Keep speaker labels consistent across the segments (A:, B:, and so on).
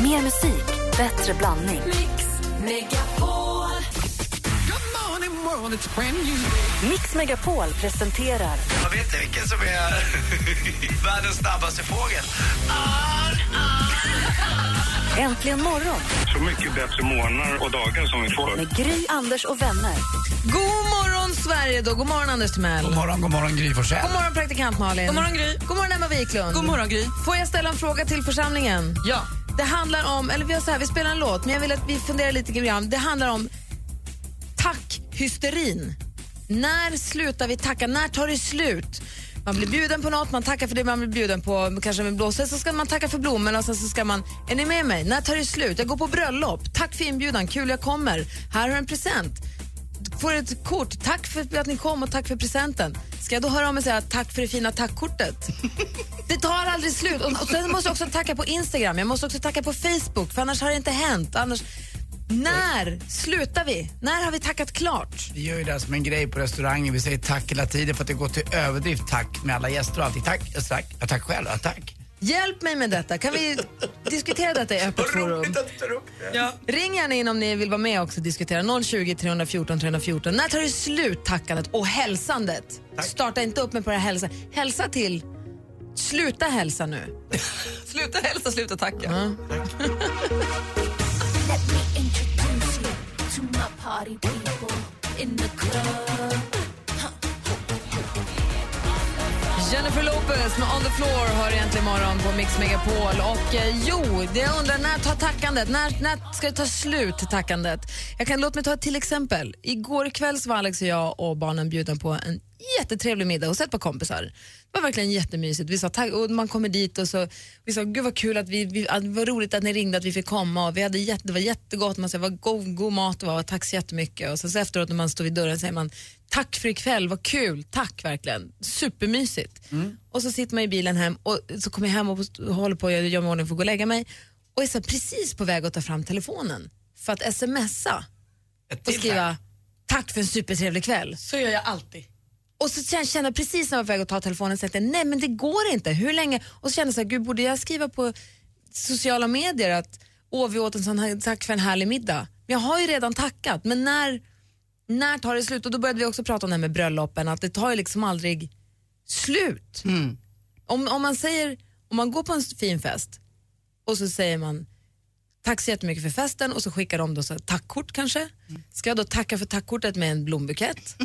A: Mer musik, bättre blandning.
B: Mix Megapol.
A: Mix Megapol presenterar
C: Jag vet inte vilken som är världens snabbaste fågel.
A: Äntligen morgon
D: så mycket bättre månader och dagar som vi får.
A: med Gry, Anders och vänner.
E: God morgon, Sverige! Då. God morgon, Anders Timell.
C: God morgon, god morgon Gry Forssell.
E: God morgon, praktikant Malin. God morgon, Gry. God morgon, Emma Wiklund. God morgon, Gry. Får jag ställa en fråga till församlingen? Ja. Det handlar om, eller vi, har så här, vi spelar en låt, men jag vill att vi funderar lite grann. Det handlar om tackhysterin. När slutar vi tacka? När tar det slut? Man blir bjuden på något, man tackar för det man blir bjuden på. Kanske med blåsa, så ska man tacka för blommorna och sen så ska man... Är ni med mig? När tar det slut? Jag går på bröllop. Tack för inbjudan, kul jag kommer. Här har du en present får ett kort. Tack för att ni kom och tack för presenten. Ska jag då höra om och säga tack för det fina tackkortet? Det tar aldrig slut. Och, och sen måste jag också tacka på Instagram, jag måste också tacka på Facebook för annars har det inte hänt. Annars... När slutar vi? När har vi tackat klart?
C: Vi gör ju det här som en grej på restaurangen. Vi säger tack hela tiden för att det går till överdrift tack med alla gäster och allting. Tack, jag tack, jag tack själv, jag tack.
E: Hjälp mig med detta. Kan vi diskutera detta i öppet forum?
C: att du tar upp det.
E: Ring gärna in om ni vill vara med också och diskutera. 020 314 314. När tar det slut tackandet och hälsandet?
C: Tack.
E: Starta inte upp med på det här hälsa. Hälsa till... Sluta hälsa nu.
F: Sluta hälsa, sluta tacka.
B: Let me introduce you to my party people in the club.
E: Jennifer Lopez med On the floor hör egentligen imorgon på Mix Megapol. Och eh, jo, det jag undrar, när tar tackandet? När, när ska det ta slut, tackandet? Jag kan, låt mig ta ett till exempel. Igår kväll så var Alex och jag och barnen bjudna på en jättetrevlig middag hos ett par kompisar. Det var verkligen jättemysigt. Vi sa tack, och man kommer dit och så, vi sa gud vad kul att vi, vi att, vad roligt att ni ringde att vi fick komma och vi hade jätte, det var jättegott, man sa, vad god, god mat det var, tack så jättemycket. Och sen så efteråt när man står vid dörren säger man tack för ikväll, vad kul, tack verkligen. Supermysigt. Och så sitter man i bilen hem och så kommer jag hem och håller på att göra mig i ordning för att gå och lägga mig och är så här precis på väg att ta fram telefonen för att smsa
C: Ett
E: och
C: till tack.
E: skriva tack för en supertrevlig kväll.
F: Så gör jag alltid.
E: Och så kände kände jag precis när jag var på väg att ta telefonen så att jag, nej men det går inte, hur länge? Och så kände jag så här, gud borde jag skriva på sociala medier att åh vi åt en sån här, tack för en härlig middag. Men jag har ju redan tackat, men när, när tar det slut? Och då började vi också prata om det här med bröllopen, att det tar ju liksom aldrig slut.
F: Mm.
E: Om, om man säger, om man går på en fin fest och så säger man tack så jättemycket för festen och så skickar de då så här, tackkort kanske. Ska jag då tacka för tackkortet med en blombukett?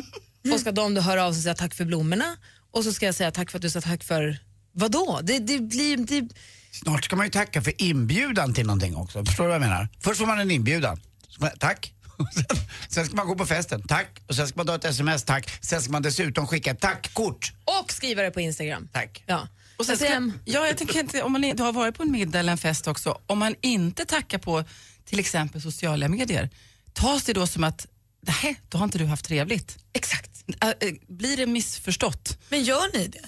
E: Och ska de då höra av sig och säga tack för blommorna? Och så ska jag säga tack för att du sa tack för vadå? Det, det blir... Det,
C: Snart ska man ju tacka för inbjudan till någonting också. Förstår du vad jag menar? Först får man en inbjudan. Så man- Tack. Och sen- Sen ska man gå på festen, tack. Och sen ska man ta ett sms, tack. Sen ska man dessutom skicka ett tackkort,
E: och skriva det på Instagram.
C: tack.
E: Ja.
F: Och sen
E: Jag säger,
F: ska, ja, jag tänker inte, om man inte har varit på en middag eller en fest också, om man inte tackar på till exempel sociala medier, tas det då som att nej, då har inte du haft trevligt?
E: Exakt.
F: Ä- äh, Blir det missförstått?
G: Men gör ni det?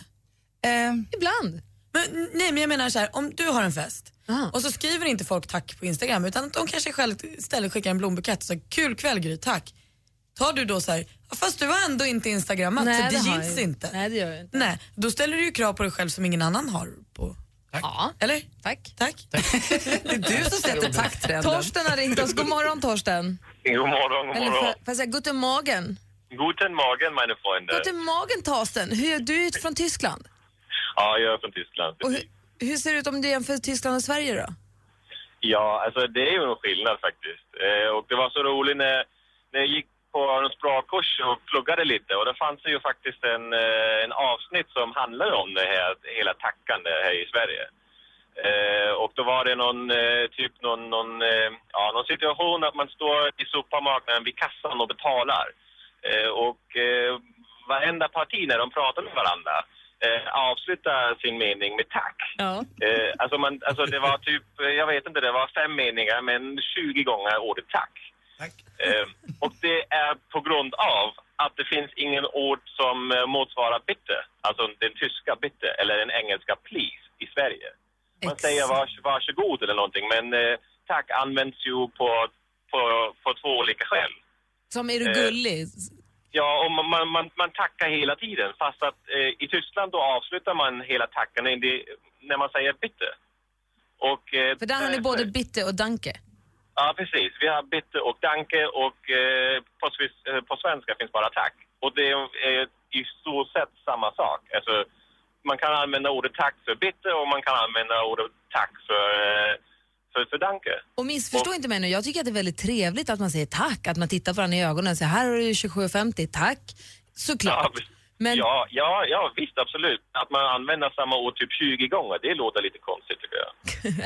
F: Eh,
E: Ibland.
G: Men, nej men jag menar så här, om du har en fest
E: Ah.
G: och så skriver inte folk tack på Instagram utan att de kanske själv istället skickar en blombukett och säger kul kväll Gry, tack. Tar du då så här, "Ja, fast du har ändå inte instagrammat så det,
E: har jag
G: gills
E: ju-
G: inte. Nej.
E: Nej, det gör jag inte.
G: då ställer du ju krav på dig själv som ingen annan har. På.
E: Ja,
G: Eller?
E: tack.
G: Tack.
F: det är du som sätter tacktrenden.
E: Torsten har ringt oss. God morgon Torsten.
H: God morgon, god
E: Eller
H: morgon.
E: får får jag säga guten morgen?
H: Guten Morgen, meine Freunde.
E: Guten morgen Torsten. Hur, du är ju från Tyskland.
H: Ja, jag är från Tyskland.
E: Och hur, hur ser det ut om du jämför Tyskland och Sverige då?
H: Ja, alltså det är ju en skillnad faktiskt. Eh, och det var så roligt när, när jag gick på en språkkurs och pluggade lite och det fanns det ju faktiskt en, eh, en avsnitt som handlade om det här, hela tackande här i Sverige. Eh, och då var det någon, eh, typ någon, någon, eh, ja, någon situation att man står i supermarknaden vid kassan och betalar. Eh, och eh, varenda parti när de pratar med varandra eh, avslutar sin mening med tack.
E: Ja.
H: Eh, alltså, man, alltså det var typ, eh, jag vet inte, det var fem meningar men 20 gånger ordet tack.
C: Tack.
H: Eh, och det är på grund av att det finns ingen ord som eh, motsvarar bitte, alltså den tyska bitte eller den engelska please i Sverige. Man
E: Exakt.
H: säger vars, varsågod eller någonting men eh, tack används ju på, på, på två olika skäl.
E: Som är du
H: Eh,
E: gullig?
H: Ja, och man, man, man, man tackar hela tiden fast att eh, i Tyskland då avslutar man hela tacken när det- när man säger bitte. Och, eh,
E: För där har ni
H: eh,
E: både Bitte och Danke.
H: Ja, precis. Vi har Bitte och Danke och eh, på, svis- eh, på svenska finns bara tack. Och det är i stort sett samma sak. Alltså, man kan använda ordet tack för Bitte och man kan använda ordet tack för, eh, för, för Danke.
E: Och missförstå inte mig nu, jag tycker att det är väldigt trevligt att man säger tack, att man tittar varandra i ögonen och säger här har du 27,50, tack. Såklart.
H: Ja,
E: Men
H: Ja, ja, ja, visst absolut. Att man använder samma ord typ 20 gånger, det låter lite konstigt tycker jag.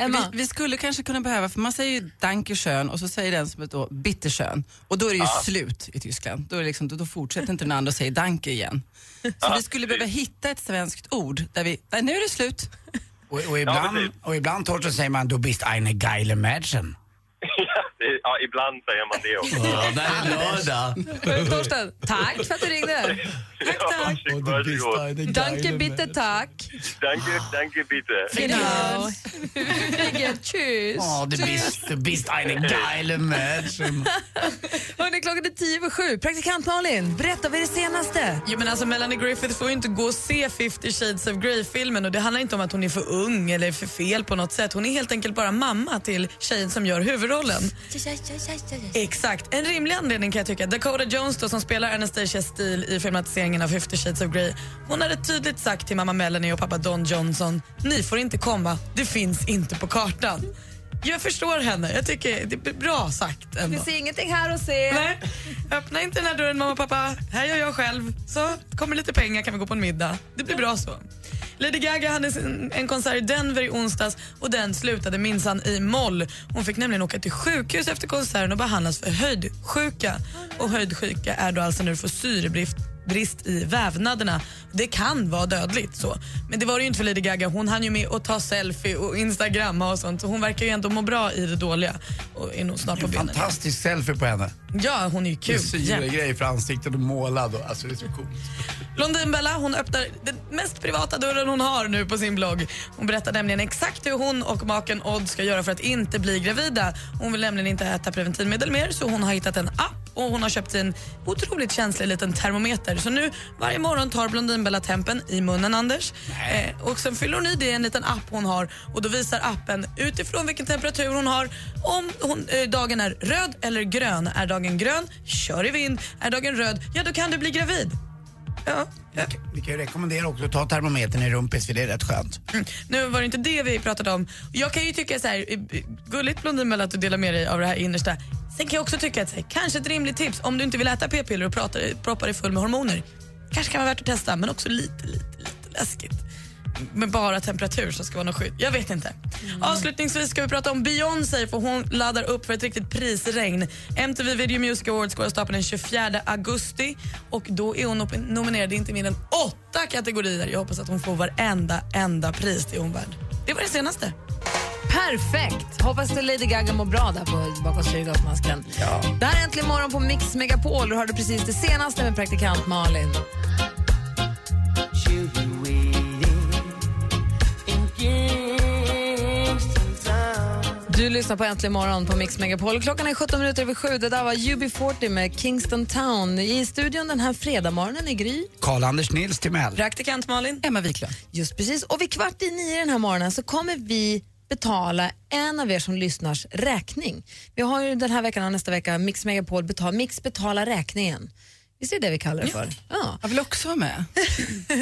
E: Emma,
F: Vi, vi skulle kanske kunna behöva, för man säger ju dankeschön och så säger den som är då bitterschön. Och då är det ju slut i Tyskland. Då, är det liksom, då, då fortsätter inte den andra och säger danke igen. Så vi skulle behöva hitta ett svenskt ord där vi, nej nu är det slut.
C: Och, och ibland,
H: precis.
C: och ibland Torsten, säger man du bist eine geile Mädchen.
H: ja, ibland säger man det också.
I: Ja, där är lördag.
E: Torsten, tack för att du ringde.
H: tack, tack. Ja, varsågod.
E: Danke, Bitte, tack.
H: Danke, danke bitte.
E: Genau. Vilket tjus.
C: Ja, du bist, du bist eine geile Mädchen.
E: Hörni, klockan är tio över sju. Praktikant Malin, berätta vad är det senaste?
G: Jo, men alltså, Melanie Griffith får ju inte gå och se 50 shades of Grey-filmen och det handlar inte om att hon är för ung eller för fel på något sätt. Hon är helt enkelt bara mamma till tjejen som gör huvudrollen. Exakt. En rimlig anledning kan jag tycka. Dakota Jones då, som spelar Anastasia Steele i filmatiseringen av 50 shades of Grey. Hon hade tydligt sagt till mamma Melanie och pappa Don Johnson, ni får inte komma, det finns inte på kartan. Jag förstår henne. Jag tycker det är bra sagt ändå.
E: Vi ser ingenting här att se.
G: Nej, öppna inte den här dörren mamma och pappa. Här gör jag själv. Så kommer lite pengar kan vi gå på en middag. Det blir bra så. Lady Gaga hade sin- en konsert i Denver i onsdags och den slutade minsann i moll. Hon fick nämligen åka till sjukhus efter konserten och behandlas för höjdsjuka. Och höjdsjuka är då alltså när du får syrebrist brist i vävnaderna. Det kan vara dödligt så. Men det var det ju inte för Lady Gaga. Hon hann ju med att ta selfie och instagramma och sånt. Så hon verkar ju ändå må bra i det dåliga och är nog snart på benen.
C: Fantastisk selfie på henne.
G: Ja, hon är ju kul. jämt.
C: grejer för ansiktet och målad. och- Alltså det är så coolt.
G: Blondinbella hon öppnar den mest privata dörren hon har nu på sin blogg. Hon berättar nämligen exakt hur hon och maken Odd ska göra för att inte bli gravida. Hon vill nämligen inte äta preventivmedel mer så hon har hittat en app och hon har köpt sig en otroligt känslig liten termometer. Så nu varje morgon tar Blondinbella tempen i munnen, Anders. Eh, och sen fyller hon i det i en liten app hon har och då visar appen utifrån vilken temperatur hon har om hon, eh, dagen är röd eller grön. Är dagen grön, kör i vind. Är dagen röd, ja då kan du bli gravid. Ja, ja.
C: Vi kan ju rekommendera också att ta termometern i rumpis för det är rätt skönt.
G: Mm. Nu var det inte det vi pratade om. Jag kan ju tycka så här, eh, gulligt Blondinbella att du delar med dig av det här innersta. Sen kan jag också tycka att så här, kanske ett rimligt tips om du inte vill äta p-piller och pratar, proppar dig full med hormoner. Kanske kan vara värt att testa men också lite, lite, lite läskigt. Med bara temperatur som ska vara något skydd. Jag vet inte. Avslutningsvis ska vi prata om Beyoncé för hon laddar upp för ett riktigt prisregn. MTV Video Music Awards går av stapeln den 24 augusti och då är hon op- nominerad i inte mindre än åtta kategorier. Jag hoppas att hon får varenda enda pris. Det är hon värd. Det var det senaste.
E: Perfekt! Hoppas att Lady Gaga mår bra där på bakom syrgasmasken. Ja. Det här är Äntligen morgon på Mix Megapol. Du hörde precis det senaste med praktikant Malin. Du lyssnar på Äntligen morgon på Mix Megapol. Klockan är 17 minuter över sju. Det där var UB40 med Kingston Town. I studion den här fredagmorgonen i Gry.
C: Karl-Anders Nils Timell.
G: Praktikant Malin.
F: Emma Wiklund.
E: Just precis. Och vid kvart i nio den här morgonen så kommer vi betala en av er som lyssnars räkning. Vi har ju den här veckan och nästa vecka Mix Megapol betal, Mix betala räkningen. Visst är det det vi kallar det för? Ja.
F: Jag vill också vara med.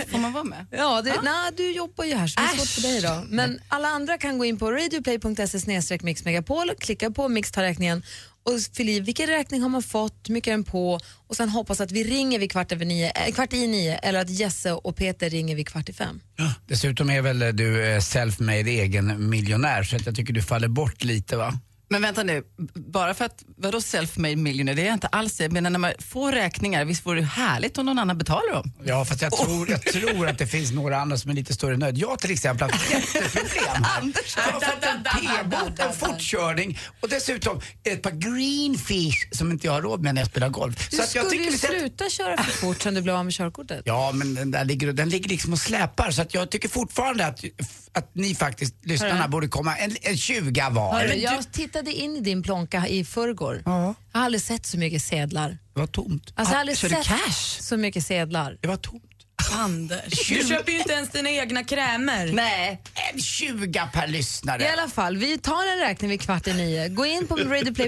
F: Får man vara med?
E: Ja, det, nej, du jobbar ju här så det är svårt för dig då. Men alla andra kan gå in på radioplay.se mixmegapol och klicka på mix ta räkningen och fylla i vilken räkning har man fått, hur mycket är den på och sen hoppas att vi ringer vid kvart, över nio, eh, kvart i nio eller att Jesse och Peter ringer vid kvart i fem.
C: Dessutom är väl eh, du eh, self-made egen miljonär så att jag tycker du faller bort lite va?
F: Men vänta nu, b- bara för att, vadå self-made millionaire? Det är jag inte alls. Jag menar när man får räkningar, visst vore det härligt om någon annan betalar dem?
C: Ja fast jag tror, jag tror att det finns några andra som är lite större nöd. Jag till exempel har haft jätteproblem här. Jag har fått en p-bot, en
E: Alltså.
C: fortkörning och dessutom ett par greenfish som inte jag har råd med när jag spelar golf.
E: Du
C: Så att jag tycker
E: skulle ju
C: lite att-
E: sluta köra för fort sen du blev av med körkortet.
C: Ja, men den, där ligger, den ligger liksom och släpar så att jag tycker fortfarande att, att ni faktiskt, lyssnarna, borde komma en, en 20 var.
E: Hörru, jag tittade in i din plånka i förrgår.
C: Ja.
E: Jag har aldrig sett så mycket sedlar.
C: Det var tomt.
E: Alltså, jag har
F: Ah,
E: aldrig
F: Kör du
E: sett
F: cash?
E: så mycket sedlar.
C: Det var tomt.
G: Anders, du köper ju inte ens dina egna krämer.
E: Nej,
C: En 20 per lyssnare.
E: i alla fall. Vi tar en räkning vid kvart i nio. Gå in på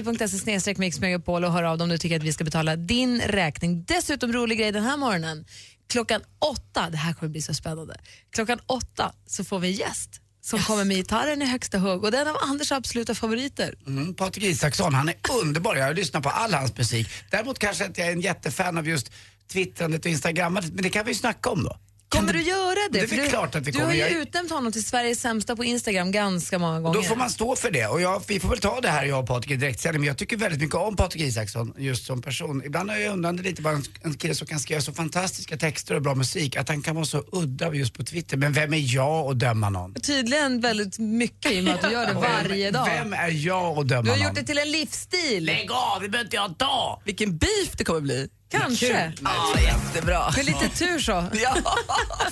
E: radioplay.se mixmegapol och hör av dig om du tycker att vi ska betala din räkning. Dessutom rolig grej den här morgonen. Klockan åtta, det här kommer bli så spännande. Klockan åtta så får vi en gäst som kommer med gitarren i högsta hugg och det är en av Anders absoluta favoriter.
C: Mm, Patrik Isaksson, han är underbar. Jag lyssnar på all hans musik. Däremot kanske inte jag är en jättefan av just twittrandet och instagrammandet, men det kan vi ju snacka om då.
E: Kommer du göra det?
C: Det är
E: För
C: väl
E: du,
C: klart att vi
E: du
C: kommer.
E: har ju
C: Jag-
E: utnämnt honom till Sveriges sämsta på Instagram ganska många gånger.
C: Då får man stå för det. Och jag, vi får väl ta det här jag och Patrik i direktsändning. Men jag tycker väldigt mycket om Patrik Isaksson just som person. Ibland har jag undrat lite bara en, en kille som kan skriva så fantastiska texter och bra musik, att han kan vara så udda just på Twitter. Men vem är jag att döma någon?
E: Tydligen väldigt mycket i och med att du gör det varje dag.
C: Vem är jag att döma
E: Du har
C: någon?
E: gjort det till en livsstil.
C: Lägg av, det behöver inte jag ta!
F: Vilken beef det kommer bli.
E: Kanske.
F: Ja, jättebra.
E: Med lite tur så.
F: Ja.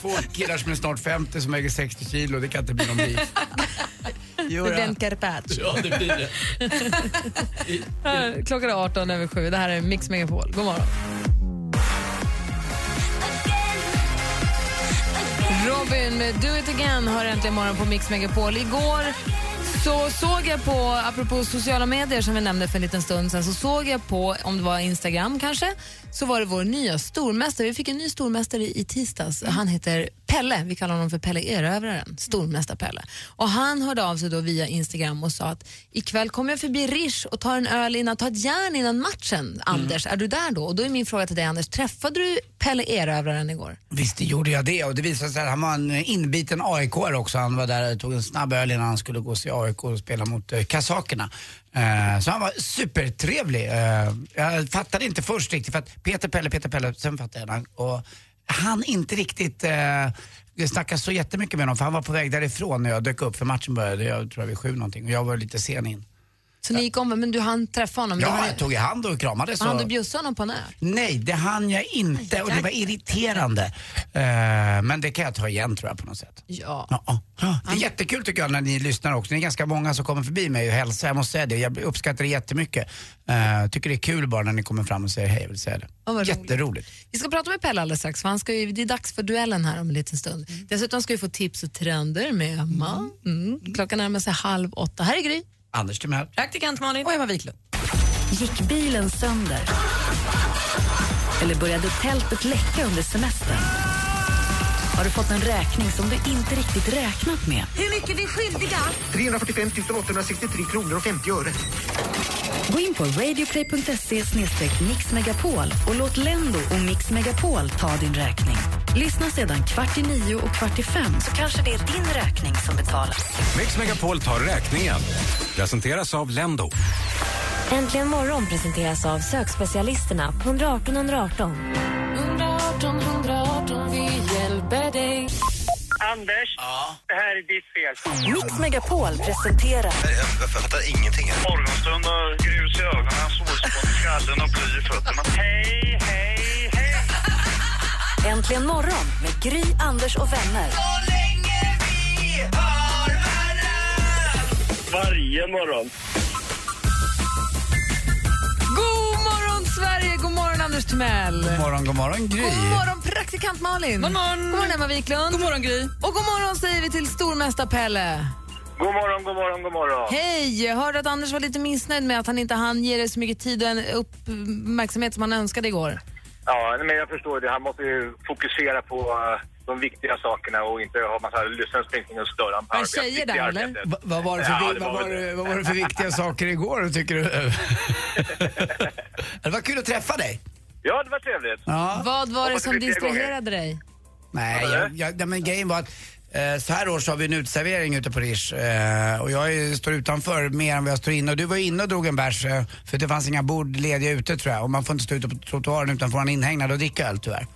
C: Två killar som är snart 50 som väger 60 kilo, det kan inte bli någon beef.
F: Jo,
E: Med Ben
F: då.
E: Carpaccio.
C: Ja, det blir det.
E: Klockan är 18 över 7. Det här är Mix Megapol. God morgon. Robin med Do It Again har äntligen morgon på Mix Megapol. Igår så såg jag på, apropå sociala medier som vi nämnde för en liten stund sedan, så såg jag på, om det var Instagram kanske, så var det vår nya stormästare. Vi fick en ny stormästare i tisdags. Han heter Pelle, vi kallar honom för Pelle Erövraren, stormästar-Pelle. Och han hörde av sig då via Instagram och sa att ikväll kommer jag förbi Rish och tar en öl innan, tar ett järn innan matchen. Anders, är du där då? Och då är min fråga till dig Anders, träffade du Pelle Erövraren igår?
C: Visst det gjorde jag det och det visade sig att han var en inbiten aik också. Han var där och tog en snabb öl innan han skulle gå och se AIK och spela mot eh, kasakerna. Eh, så han var supertrevlig. Eh, jag fattade inte först riktigt för att Peter Pelle, Peter Pelle, sen fattade jag det. Och han inte riktigt eh, snacka så jättemycket med honom för han var på väg därifrån när jag dök upp för matchen började, jag tror jag vid sju någonting och jag var lite sen in.
E: Så ni gick om, men du hann träffa honom? du
C: Ja,
E: hann,
C: jag tog i hand och kramades.
E: hann
C: och-
E: du bjussa honom på en öl?
C: Nej, det hann jag inte och det var irriterande. Eh, men det kan jag ta igen tror jag på något sätt.
E: Ja.
C: Ja, ja. Det är jättekul tycker jag när ni lyssnar också. Ni är ganska många som kommer förbi mig och hälsar. Jag måste säga det, jag uppskattar det jättemycket. Eh, tycker det är kul bara när ni kommer fram och säger hej, jag vill säga det.
E: Ja, vad roligt.
C: Jätteroligt.
E: Vi ska prata med Pelle alldeles strax, för han ska ju, det är dags för duellen här om en liten stund.
C: Mm.
E: Dessutom ska vi få tips och trender med Emma. Mm. Klockan närmar sig halv åtta. Här är Gry.
C: Anders Timell.
G: Praktikant Malin.
F: Och Emma Wiklund.
A: Gick bilen sönder? Eller började tältet läcka under semestern? Har du fått en räkning som du inte riktigt räknat med?
I: 345 863 kronor och 50 öre.
A: Gå in på radioplay.se mixmegapol och låt Lendo och Mix Megapol ta din räkning. Lyssna sedan kvart i nio och kvart i fem så kanske det är din räkning som betalas.
J: Mix Megapol tar räkningen. Presenteras av Lendo.
K: Äntligen morgon presenteras av sökspecialisterna på 118 118.
D: Anders, det här är ditt fel.
A: Mix Megapol presenterar
I: Jag fattar ingenting.
D: Morgonstund och grus i ögonen, solspån i skallen och bly i fötterna. Hej, hej, hej!
A: Äntligen morgon med Gry, Anders och vänner.
D: Varje morgon.
E: God morgon, Sverige! God morgon, Anders Timell!
C: God morgon, god morgon Gry.
E: God morgon, praktikant Malin! God morgon, god morgon Emma Wiklund! God morgon, Gry! Och god morgon säger vi till stormästar-Pelle.
D: God morgon, god morgon, god morgon.
E: Hej! Jag hörde att Anders var lite missnöjd med att han inte hann ge dig så mycket tid och en uppmärksamhet som han önskade igår.
H: Ja, nej, men jag förstår det. Han måste ju fokusera på eh, de viktiga sakerna och inte ha massa lyssnarsprängning och störa han på
E: Var det
H: arbet-
E: tjejer
H: viktiga
E: där, eller?
H: arbetet.
C: Va- vad, var det för,
H: Ja, det
C: vad,
H: var
C: var
H: väl
C: det,
H: det.
C: vad var det för viktiga saker igår tycker du? det var kul att träffa dig.
H: Ja, det var trevligt.
C: Ja.
E: Vad var det
H: Hoppas det
E: som
H: blir fler
E: distraherade dig?
C: Nej,
H: Vad var
C: jag,
H: det?
C: jag, nej, men grejen var att eh, så här års har vi en utservering ute på Rish eh, och jag är, står utanför mer än vad jag står inne. Och du var inne och drog en bärs eh, för det fanns inga bord lediga ute tror jag. Och man får inte stå ute på trottoaren utan får vara inhägnad och dricka öl tyvärr.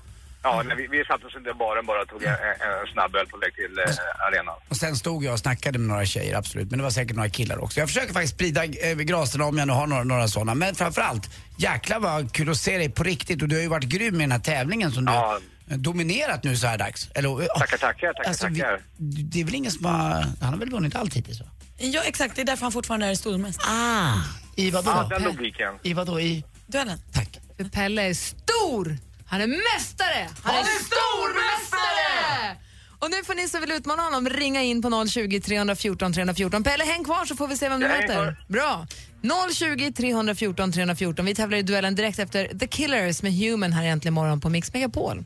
H: Ja, men vi, vi satte oss inte i baren bara och tog en, en en snabb öl på väg till eh, arenan.
C: Och sen stod jag och snackade med några tjejer, absolut. Men det var säkert några killar också. Jag försöker faktiskt sprida eh, gracerna om jag nu har några, några sådana. Men framförallt, jäklar vad kul att se dig på riktigt. Och du har ju varit grym i den här tävlingen som
H: Ja.
C: du eh, dominerat nu så här dags. Eller, eh,
H: Tackar, tackar, tackar,
C: vi-
H: tackar.
C: det är väl ingen som har... Han har väl vunnit allt hittills va?
G: Ja, exakt. Det är därför han fortfarande är stormästare.
C: Ah, I vad
H: Ja,
C: då?
H: den logiken.
C: I vad då? I...
G: Duellen.
C: Tack.
E: För Pelle är stor! Han är mästare! Han är stormästare! Och nu får ni som vill utmana honom ringa in på 020 314 314. Pelle, häng kvar så får vi se vem du
L: Jag hänger
E: möter. Bra! 020 314 314. Vi tävlar i duellen direkt efter The Killers med Human här äntligen morgon på Mix Megapol.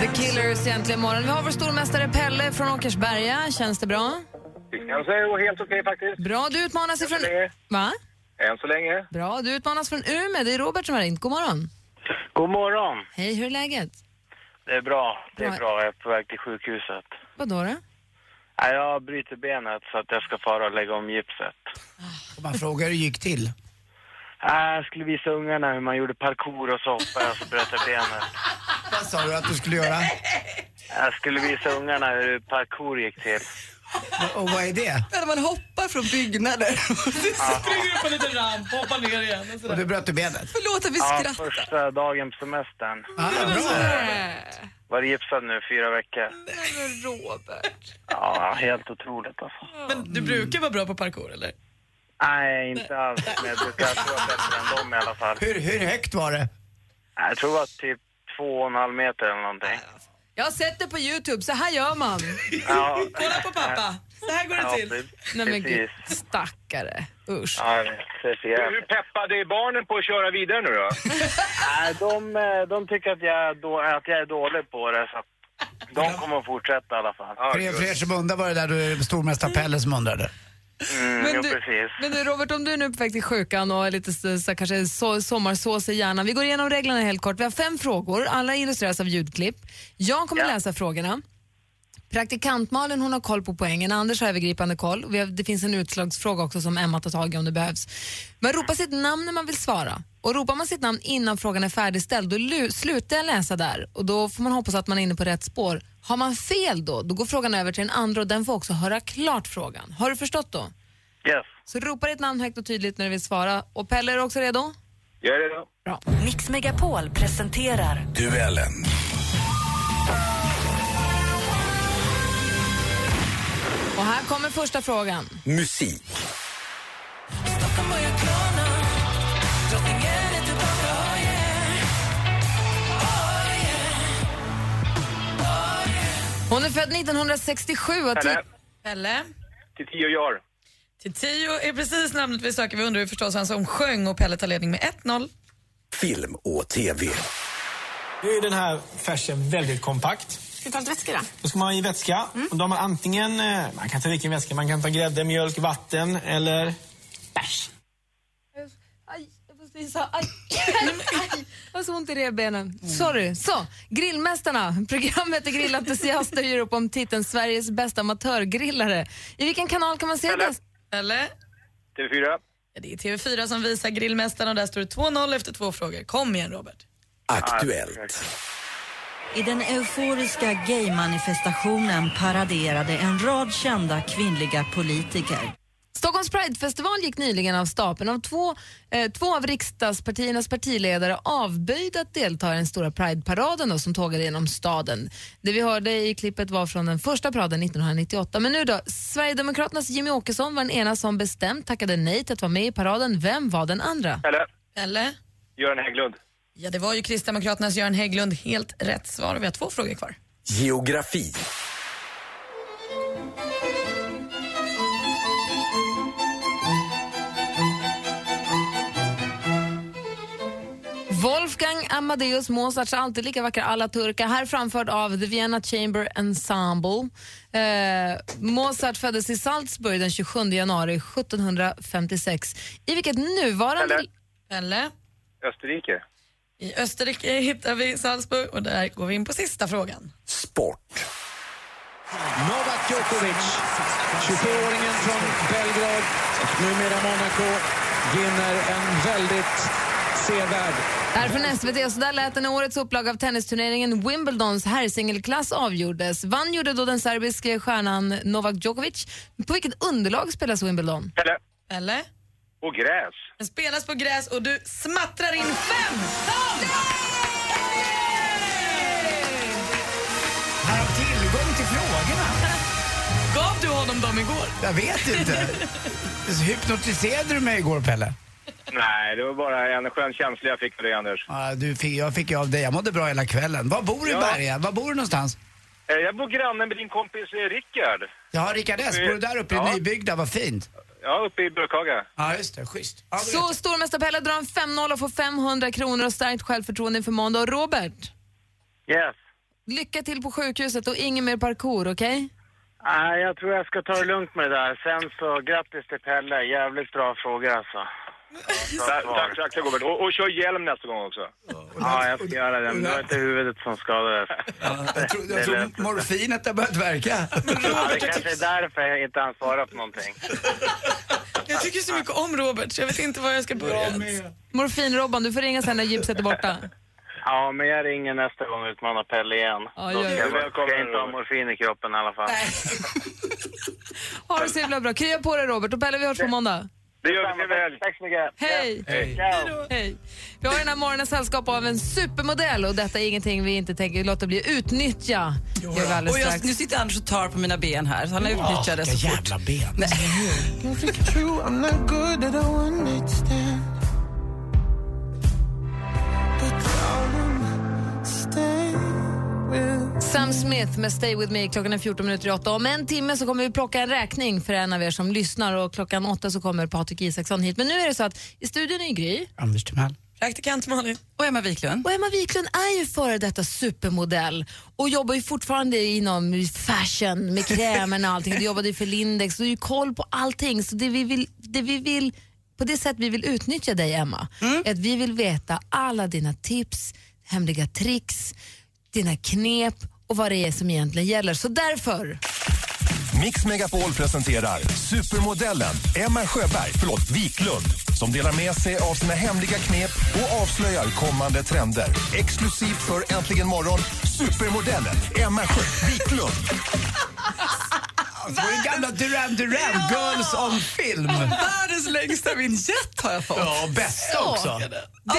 E: The Killers äntligen morgon. Vi har vår stormästare Pelle från Åkersberga. Känns det bra?
M: Kanske och helt okej faktiskt.
E: Bra, du utmanas ifrån... Va?
M: Än så länge.
E: Bra, du utmanas från Umeå. Det är Robert som har ringt. God morgon.
M: God morgon.
E: Hej, hur är läget?
M: Det är bra. Det
E: Bra.
M: är bra. Jag är på väg till sjukhuset.
E: Vadå då?
M: Nej, Jag bryter benet så att jag ska fara och lägga om gipset.
C: Om man frågar hur det gick till.
M: Nej, Jag skulle visa ungarna hur man gjorde parkour och så hoppade jag och så bröt jag benet.
C: Vad sa du att du skulle göra?
M: Jag skulle visa ungarna hur parkour gick till.
C: Och vad är det?
F: När man hoppar från byggnader.
M: Springer
F: upp en liten ramp och hoppar ner igen.
C: Och du bröt benet? Ah,
F: Förlåt att vi
M: Ja,
F: skrattar.
M: första dagen på semestern. Var gipsad nu fyra veckor.
G: Robert.
M: Ja, helt otroligt alltså.
G: Men du brukar vara bra på parkour eller?
M: Nej, inte alls. Men jag brukar stå bättre än dem i alla fall.
C: Hur, hur högt var det?
M: Jag tror att typ två och en halv meter eller någonting.
E: Jag har sett det på Youtube, så här gör man.
M: Ja.
E: Kolla på pappa.
G: Så här
E: går det till. Nej men gud,
M: precis.
E: stackare. Usch.
M: Ja, det är så jävligt.
H: Hur peppade är barnen på att köra vidare nu då?
M: Nej, de, eh, de tycker att jag, är då, att jag är dålig på det, så att de kommer att fortsätta i alla fall.
C: För er, för er som undrar var det där du stormästare Pelle som undrade.
M: Mm,
E: Men
M: jo,
E: du-
M: precis.
E: Men du Robert, om du är nu är på väg till sjukan och är lite så, så, kanske så, sommarsås i hjärnan. Vi går igenom reglerna helt kort. Vi har fem frågor, alla illustreras av ljudklipp. Jag kommer läsa frågorna. Praktikant Malin hon har koll på poängen, Anders har övergripande koll. Vi har, det finns en utslagsfråga också som Emma tar tag i om det behövs. Man ropar sitt namn när man vill svara. Och ropar man sitt namn innan frågan är färdigställd, då lu- slutar jag läsa där. Och då får man hoppas att man är inne på rätt spår. Har man fel då, då går frågan över till den andra och den får också höra klart frågan. Har du förstått då?
M: Yes.
E: Så ropa ditt namn högt och tydligt när du vill svara. Och Pelle, är du också redo?
M: Jag är redo.
E: Bra. Mix Megapol presenterar...
J: Duellen.
E: Och här kommer första frågan.
J: Musik.
E: Hon är född 1967 och...
G: Pelle.
E: ti-
G: Pelle.
H: Till tio jar.
G: Till tio är precis namnet vi söker. Vi undrar ju förstås vem som sjöng och Pelle tar ledning med 1-0.
N: Film och TV. Nu är den här färsen väldigt kompakt.
O: Ska vi ta lite vätska då?
N: Då ska man ha i vätska. Och då har man antingen, eh, man kan ta vilken vätska, man kan ta grädde, mjölk, vatten eller bärs.
E: Aj, jag måste visa. Aj, aj, aj. Jag har så ont i revbenen. Sorry. Så, Grillmästarna. Programmet är grillentusiaster gör upp om titeln Sveriges bästa amatörgrillare. I vilken kanal kan man se det?
G: Pelle.
H: TV4.
G: Ja, det är TV4 som visar Grillmästaren och där står det 2-0 efter två frågor. Kom igen Robert.
N: Aktuellt.
P: I den euforiska gaymanifestationen paraderade en rad kända kvinnliga politiker.
E: Stockholms Pridefestival gick nyligen av stapeln. Av två, eh, två av riksdagspartiernas partiledare avböjde att delta i den stora Prideparaden då, som tågade genom staden. Det vi hörde i klippet var från den första paraden 1998. Men nu då, Sverigedemokraternas Jimmy Åkesson var den ena som bestämt tackade nej till att vara med i paraden. Vem var den andra?
H: Eller?
G: Pelle.
H: Göran Hägglund.
G: Ja, det var ju Kristdemokraternas Göran Hägglund. Helt rätt svar. Vi har två frågor kvar.
N: Geografi.
E: Wolfgang Amadeus Mozarts alltid lika vackra Alla Turka, här framförd av The Vienna Chamber Ensemble. Eh, Mozart föddes i Salzburg den 27 januari 1756. I vilket nuvarande...
H: Pelle.
G: Pelle.
H: Österrike.
G: I Österrike hittar vi Salzburg och där går vi in på sista frågan.
N: Novak Djokovic, 27-åringen från Belgrad och numera Monaco, vinner en väldigt sevärd
E: Det här är från SVT, så där lät den i årets upplaga av tennisturneringen Wimbledons herrsingelklass avgjordes. Vann gjorde då den serbiske stjärnan Novak Djokovic. På vilket underlag spelas Wimbledon?
H: Pelle.
G: Pelle.
H: På gräs.
G: Den spelas på gräs och du smattrar in 15!
C: Här har tillgång till frågorna.
G: Gav du honom dem igår?
C: Jag vet inte. Hypnotiserade du mig igår Pelle?
H: Nej, det var bara en skön känsla jag fick för dig, Anders.
C: Ja, du fick, jag fick ju av dig, jag mådde bra hela kvällen. Var bor du i
H: Ja.
C: Berga? Var bor du någonstans?
H: Eh, Jag bor granne med din kompis eh, Rickard.
C: Ja, Rickard S, bor du där uppe i
H: Ja.
C: Nybyggda? Vad fint.
H: Ja, uppe i Burkhaga.
C: Ja, just det. Schysst. Ja, du
E: Så stormästare Pelle drar en 5-0 och får 500 kronor och starkt självförtroende inför måndag. Och Robert,
M: Yes.
E: lycka till på sjukhuset och ingen mer parkour, okej?
M: Nej, jag tror jag ska ta det lugnt med det där. Sen så grattis till Pelle. Jävligt bra frågor alltså.
H: Tack, tack, tack, tack Robert. Och, och kör hjälm nästa gång också.
M: Ja, jag ska göra det. Men det var inte huvudet som skadades.
C: Jag tror, jag tror morfinet har börjat verka.
M: Ja, det kanske är därför jag inte hann svara på någonting.
G: Jag tycker så mycket om Robert så jag vet inte var jag ska börja.
E: Morfin-Robban, du får ringa sen när gipset är borta.
M: Ja, men jag ringer nästa gång och utmanar Pelle igen.
E: Ja,
M: Då
E: gör
M: ska
E: det.
M: jag, ska jag inte ha morfin i kroppen i alla fall.
E: Ha det så himla bra. Krya på dig Robert och Pelle, vi hörs på måndag.
M: Det gör vi. Trevlig helg. Tack så mycket.
E: Hej!
M: Hej.
E: Hej. Vi har den här morgonen sällskap av en supermodell och detta är ingenting vi inte tänker låta bli utnyttja. Gör vi alldeles
F: Och jag,
E: strax.
F: nu sitter Anders och tar på mina ben här, så han har utnyttjat det så
C: vilka
F: fort.
C: jävla ben.
E: Sam Smith med Stay With Me. Klockan är 14 minuter i åtta. Om en timme så kommer vi plocka en räkning för en av er som lyssnar och klockan åtta så kommer Patrik Isaksson hit. Men nu är det så att i studion är Gry.
C: Anders Timell.
G: Praktikant Malin.
F: Och Emma Wiklund.
E: Och Emma Wiklund är ju före detta supermodell och jobbar ju fortfarande inom fashion med krämerna och allting. Du jobbade ju för Lindex, du har ju koll på allting. Så det vi vill, det vi vill på det sätt vi vill utnyttja dig Emma, är att vi vill veta alla dina tips, hemliga tricks, dina knep och vad det är som egentligen gäller. Så därför
L: Mix Megapol presenterar supermodellen Emma Sjöberg, förlåt, Wiklund som delar med sig av sina hemliga knep och avslöjar kommande trender. Exklusivt för Äntligen morgon, supermodellen Emma Sjö Wiklund.
C: Det var ju gamla Duran Duran, Girls on film.
F: Världens längsta vignett har jag fått.
C: Ja, bästa
E: Så.
C: också.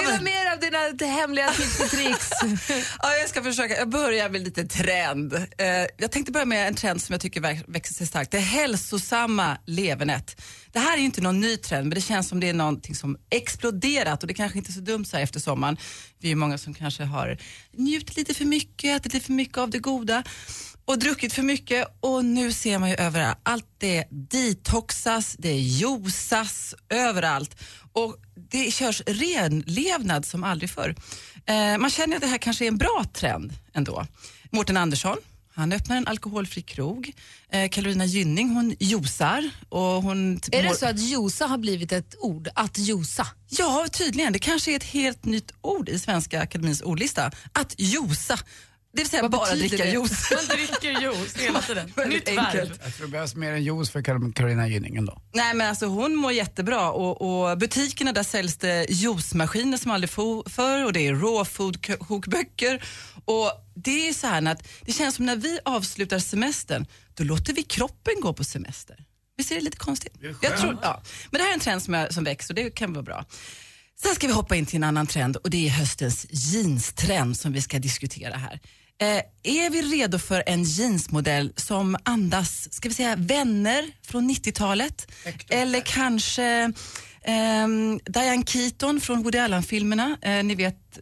E: dela med er av dina hemliga tips och tricks.
F: Ja, jag ska försöka. Jag börjar med lite trend. Eh, jag tänkte börja med en trend som jag tycker verk- växer sig starkt. Det är hälsosamma levernet. Det här är ju inte någon ny trend, men det känns som det är någonting som exploderat och det kanske inte är så dumt så här efter sommaren. Vi är ju många som kanske har njutit lite för mycket, ätit lite för mycket av det goda och druckit för mycket och nu ser man ju överallt. Allt det detoxas, det juices överallt och det körs renlevnad som aldrig förr. Eh, man känner att det här kanske är en bra trend ändå. Mårten Andersson, han öppnar en alkoholfri krog. Eh, Carolina Gynning, hon juicar och hon... typ
E: är det
F: mår-
E: så att josa har blivit ett ord? Att josa?
F: Ja, tydligen. Det kanske är ett helt nytt ord i Svenska Akademins ordlista. Att josa. Det vill säga
G: Vad
F: bara
G: betyder
F: dricka
G: det?
F: juice.
G: Man dricker juice hela tiden. Nytt verb.
F: enkelt.
C: Jag tror det behövs mer än juice för Kar- Carolina Gynning ändå.
F: Nej men alltså hon mår jättebra och, och butikerna där säljs det juicemaskiner som aldrig fo- förr och det är raw food k- kokböcker och det är så här att det känns som när vi avslutar semestern då låter vi kroppen gå på semester. Visst är det lite konstigt? Jag tror, ja. Men det här är en trend som, jag, som växer och det kan vara bra. Sen ska vi hoppa in till en annan trend och det är höstens jeanstrend som vi ska diskutera här. Eh, är vi redo för en jeansmodell som andas, ska vi säga vänner från 90-talet? Eller kanske ehm, Diane Keaton från Woody Allen-filmerna. Eh, ni vet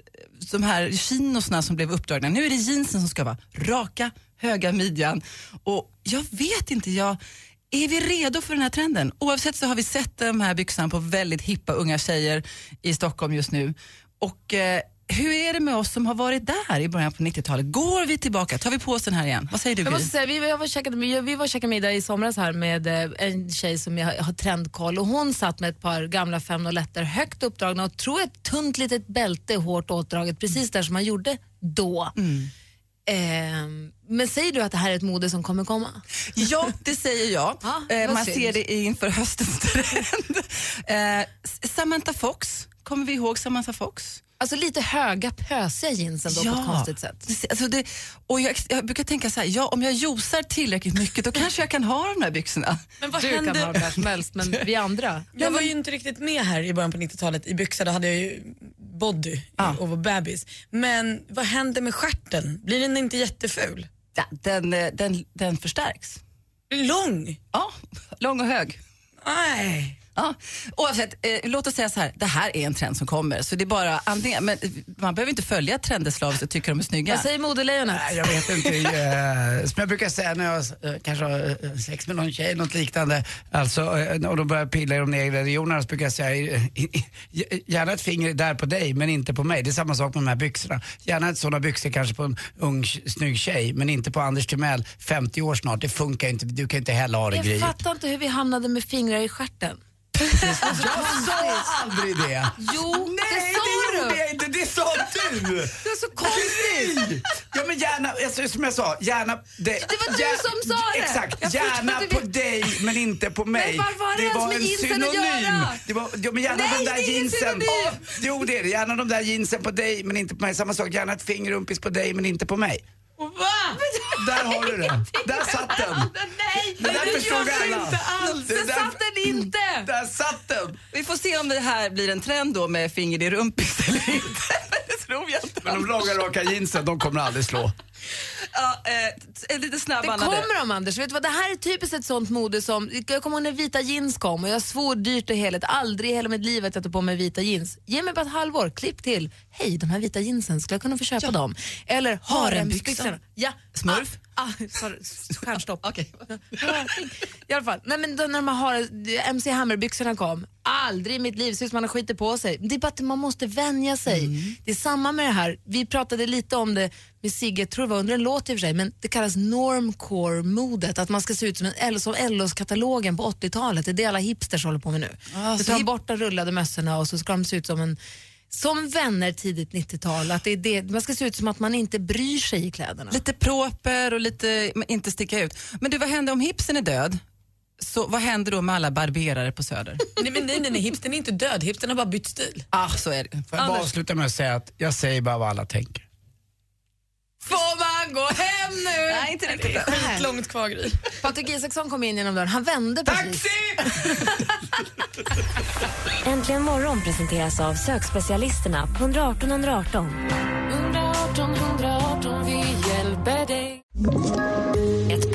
F: de här chinosna som blev uppdragna. Nu är det jeansen som ska vara raka, höga midjan. Och jag vet inte, jag, är vi redo för den här trenden? Oavsett så har vi sett de här byxorna på väldigt hippa unga tjejer i Stockholm just nu. Och eh, hur är det med oss som har varit där i början på 90-talet? Går vi tillbaka? Tar vi på oss den här igen? Vad säger du
E: Jag
F: Gry?
E: måste säga, vi var, jag var käkade, vi vi var och käkade middag i somras här med eh, en tjej som jag har trendkoll och hon satt med ett par gamla 501 högt uppdragna och tror ett tunt litet bälte hårt åtdraget precis där som man gjorde då. Ehm, men säger du att det här är ett mode som kommer komma?
F: Ja, det säger jag.
E: Ja,
F: Eh,
E: vad
F: man
E: synd.
F: ser det inför höstens trend. Eh, Samantha Fox, kommer vi ihåg Samantha Fox?
E: Alltså lite höga pösiga jeans ändå på ett konstigt sätt.
F: Det- Alltså det, och jag, jag brukar tänka så här, ja, om jag josar tillräckligt mycket då kanske jag kan ha de där byxorna.
G: Men vad
E: du kan ha
G: händer?
E: det som helst men vi andra.
G: Jag var ju inte riktigt med här i början på 90-talet i byxa, då hade jag ju body och var bebis. Men vad händer med stjärten? Blir den inte jätteful?
F: Ja, den, eh, den, den förstärks.
G: Blir den Lång?
F: Ja, lång och hög.
G: Nej.
F: Ja, oavsett, eh, låt oss säga så här, det här är en trend som kommer. Så det är bara antingen, men eh, man behöver inte följa trender slaviskt och tycka de är snygga.
E: Vad säger modelejonet?
C: Nej, jag vet inte. eh, som jag brukar säga när jag eh, kanske har eh, sex med någon tjej, något liknande, alltså, eh, och de börjar pilla i de egna regionerna, så brukar jag säga eh, gärna ett finger där på dig, men inte på mig. Det är samma sak med de här byxorna. Gärna ett sådana byxor kanske på en ung, snygg tjej, men inte på Anders Timell, 50 år snart. Det funkar inte, du kan inte heller ha det
E: Jag
C: grejen.
E: fattar inte hur vi hamnade med fingrar i stjärten.
C: Jag sa aldrig det!
E: Jo, det sa
C: Alltså, det
E: du!
C: gjorde jag inte, det sa du!
E: Det är så konstigt!
C: Nej! Ja men gärna, alltså, som jag sa, gärna... Det,
E: var du som sa det. Jag
C: Exakt,
E: förstår
C: gärna
E: inte
C: på dig men inte på mig.
E: Men varför har det ens
C: var
E: med
C: en
E: jeansen att
C: synonym.
E: göra?
C: Det var, ja, men gärna
E: Nej,
C: de där
E: det är ingen
C: jeansen.
E: synonym.
C: Jo det är det, gärna de där jeansen på dig men inte på mig. Samma sak, gärna ett finger rumpis på dig men inte på mig. Där har du det. Där satt den.
E: Nej,
C: Det där förstod alla. Det
E: Där
C: där- Mm.
E: satt den inte!
C: Där satt den!
F: Vi får se om det här blir en trend då med finger i rumpis eller inte. det tror jag inte.
C: Men de långa raka jeansen, de kommer aldrig slå.
F: Ja, eh, en lite snabb
E: Det
F: Anna, du.
E: kommer de Anders, vet du vad? det här är typiskt ett sånt mode som, jag kommer ihåg när vita jeans kom och jag svor dyrt och heligt, aldrig i hela mitt liv att jag tog på mig vita jeans. Ge mig bara ett halvår, klipp till, hej de här vita jeansen, skulle jag kunna få köpa dem? Eller harembyxorna. Ja. Smurf? Ah, ah, sorry, stjärnstopp. okay. I alla fall, nej men då när de här har, eh, MC Hammer-byxorna kom, aldrig i mitt liv, ser ut som man har skitit på sig. Det är bara att man måste vänja sig.
F: Mm.
E: Det är samma med det här, vi pratade lite om det med Sigge, tror jag det var under en låt i och för sig, men det kallas normcore-modet, att man ska se ut som, en, eller som LOs-katalogen på 80-talet, det är det alla hipsters håller på med nu.
F: Ah,
E: så
F: så
E: tar de
F: hip-
E: bort de rullade mössorna och så ska de se ut som en som vänner tidigt 90-tal, att det är det, man ska se ut som att man inte bryr sig i kläderna.
F: Lite proper och lite men inte sticka ut. Men du, vad händer om hipsen är död? Så vad händer då med alla barberare på Söder?
G: Nej, men nej, nej, nej, hipstern är inte död. Hipstern har bara bytt stil.
F: Ah, så är det.
C: Får jag bara
G: Anders.
C: avsluta med att säga att jag säger bara vad alla tänker.
E: Får man gå hem nu? Nej, inte riktigt. Det är
G: långt kvar, Gry.
E: Patrik Isaksson kom in genom dörren. Han vände precis.
K: Äntligen morgon presenteras av sökspecialisterna på 118 118.
O: 118 118, vi hjälper dig.
Q: Ett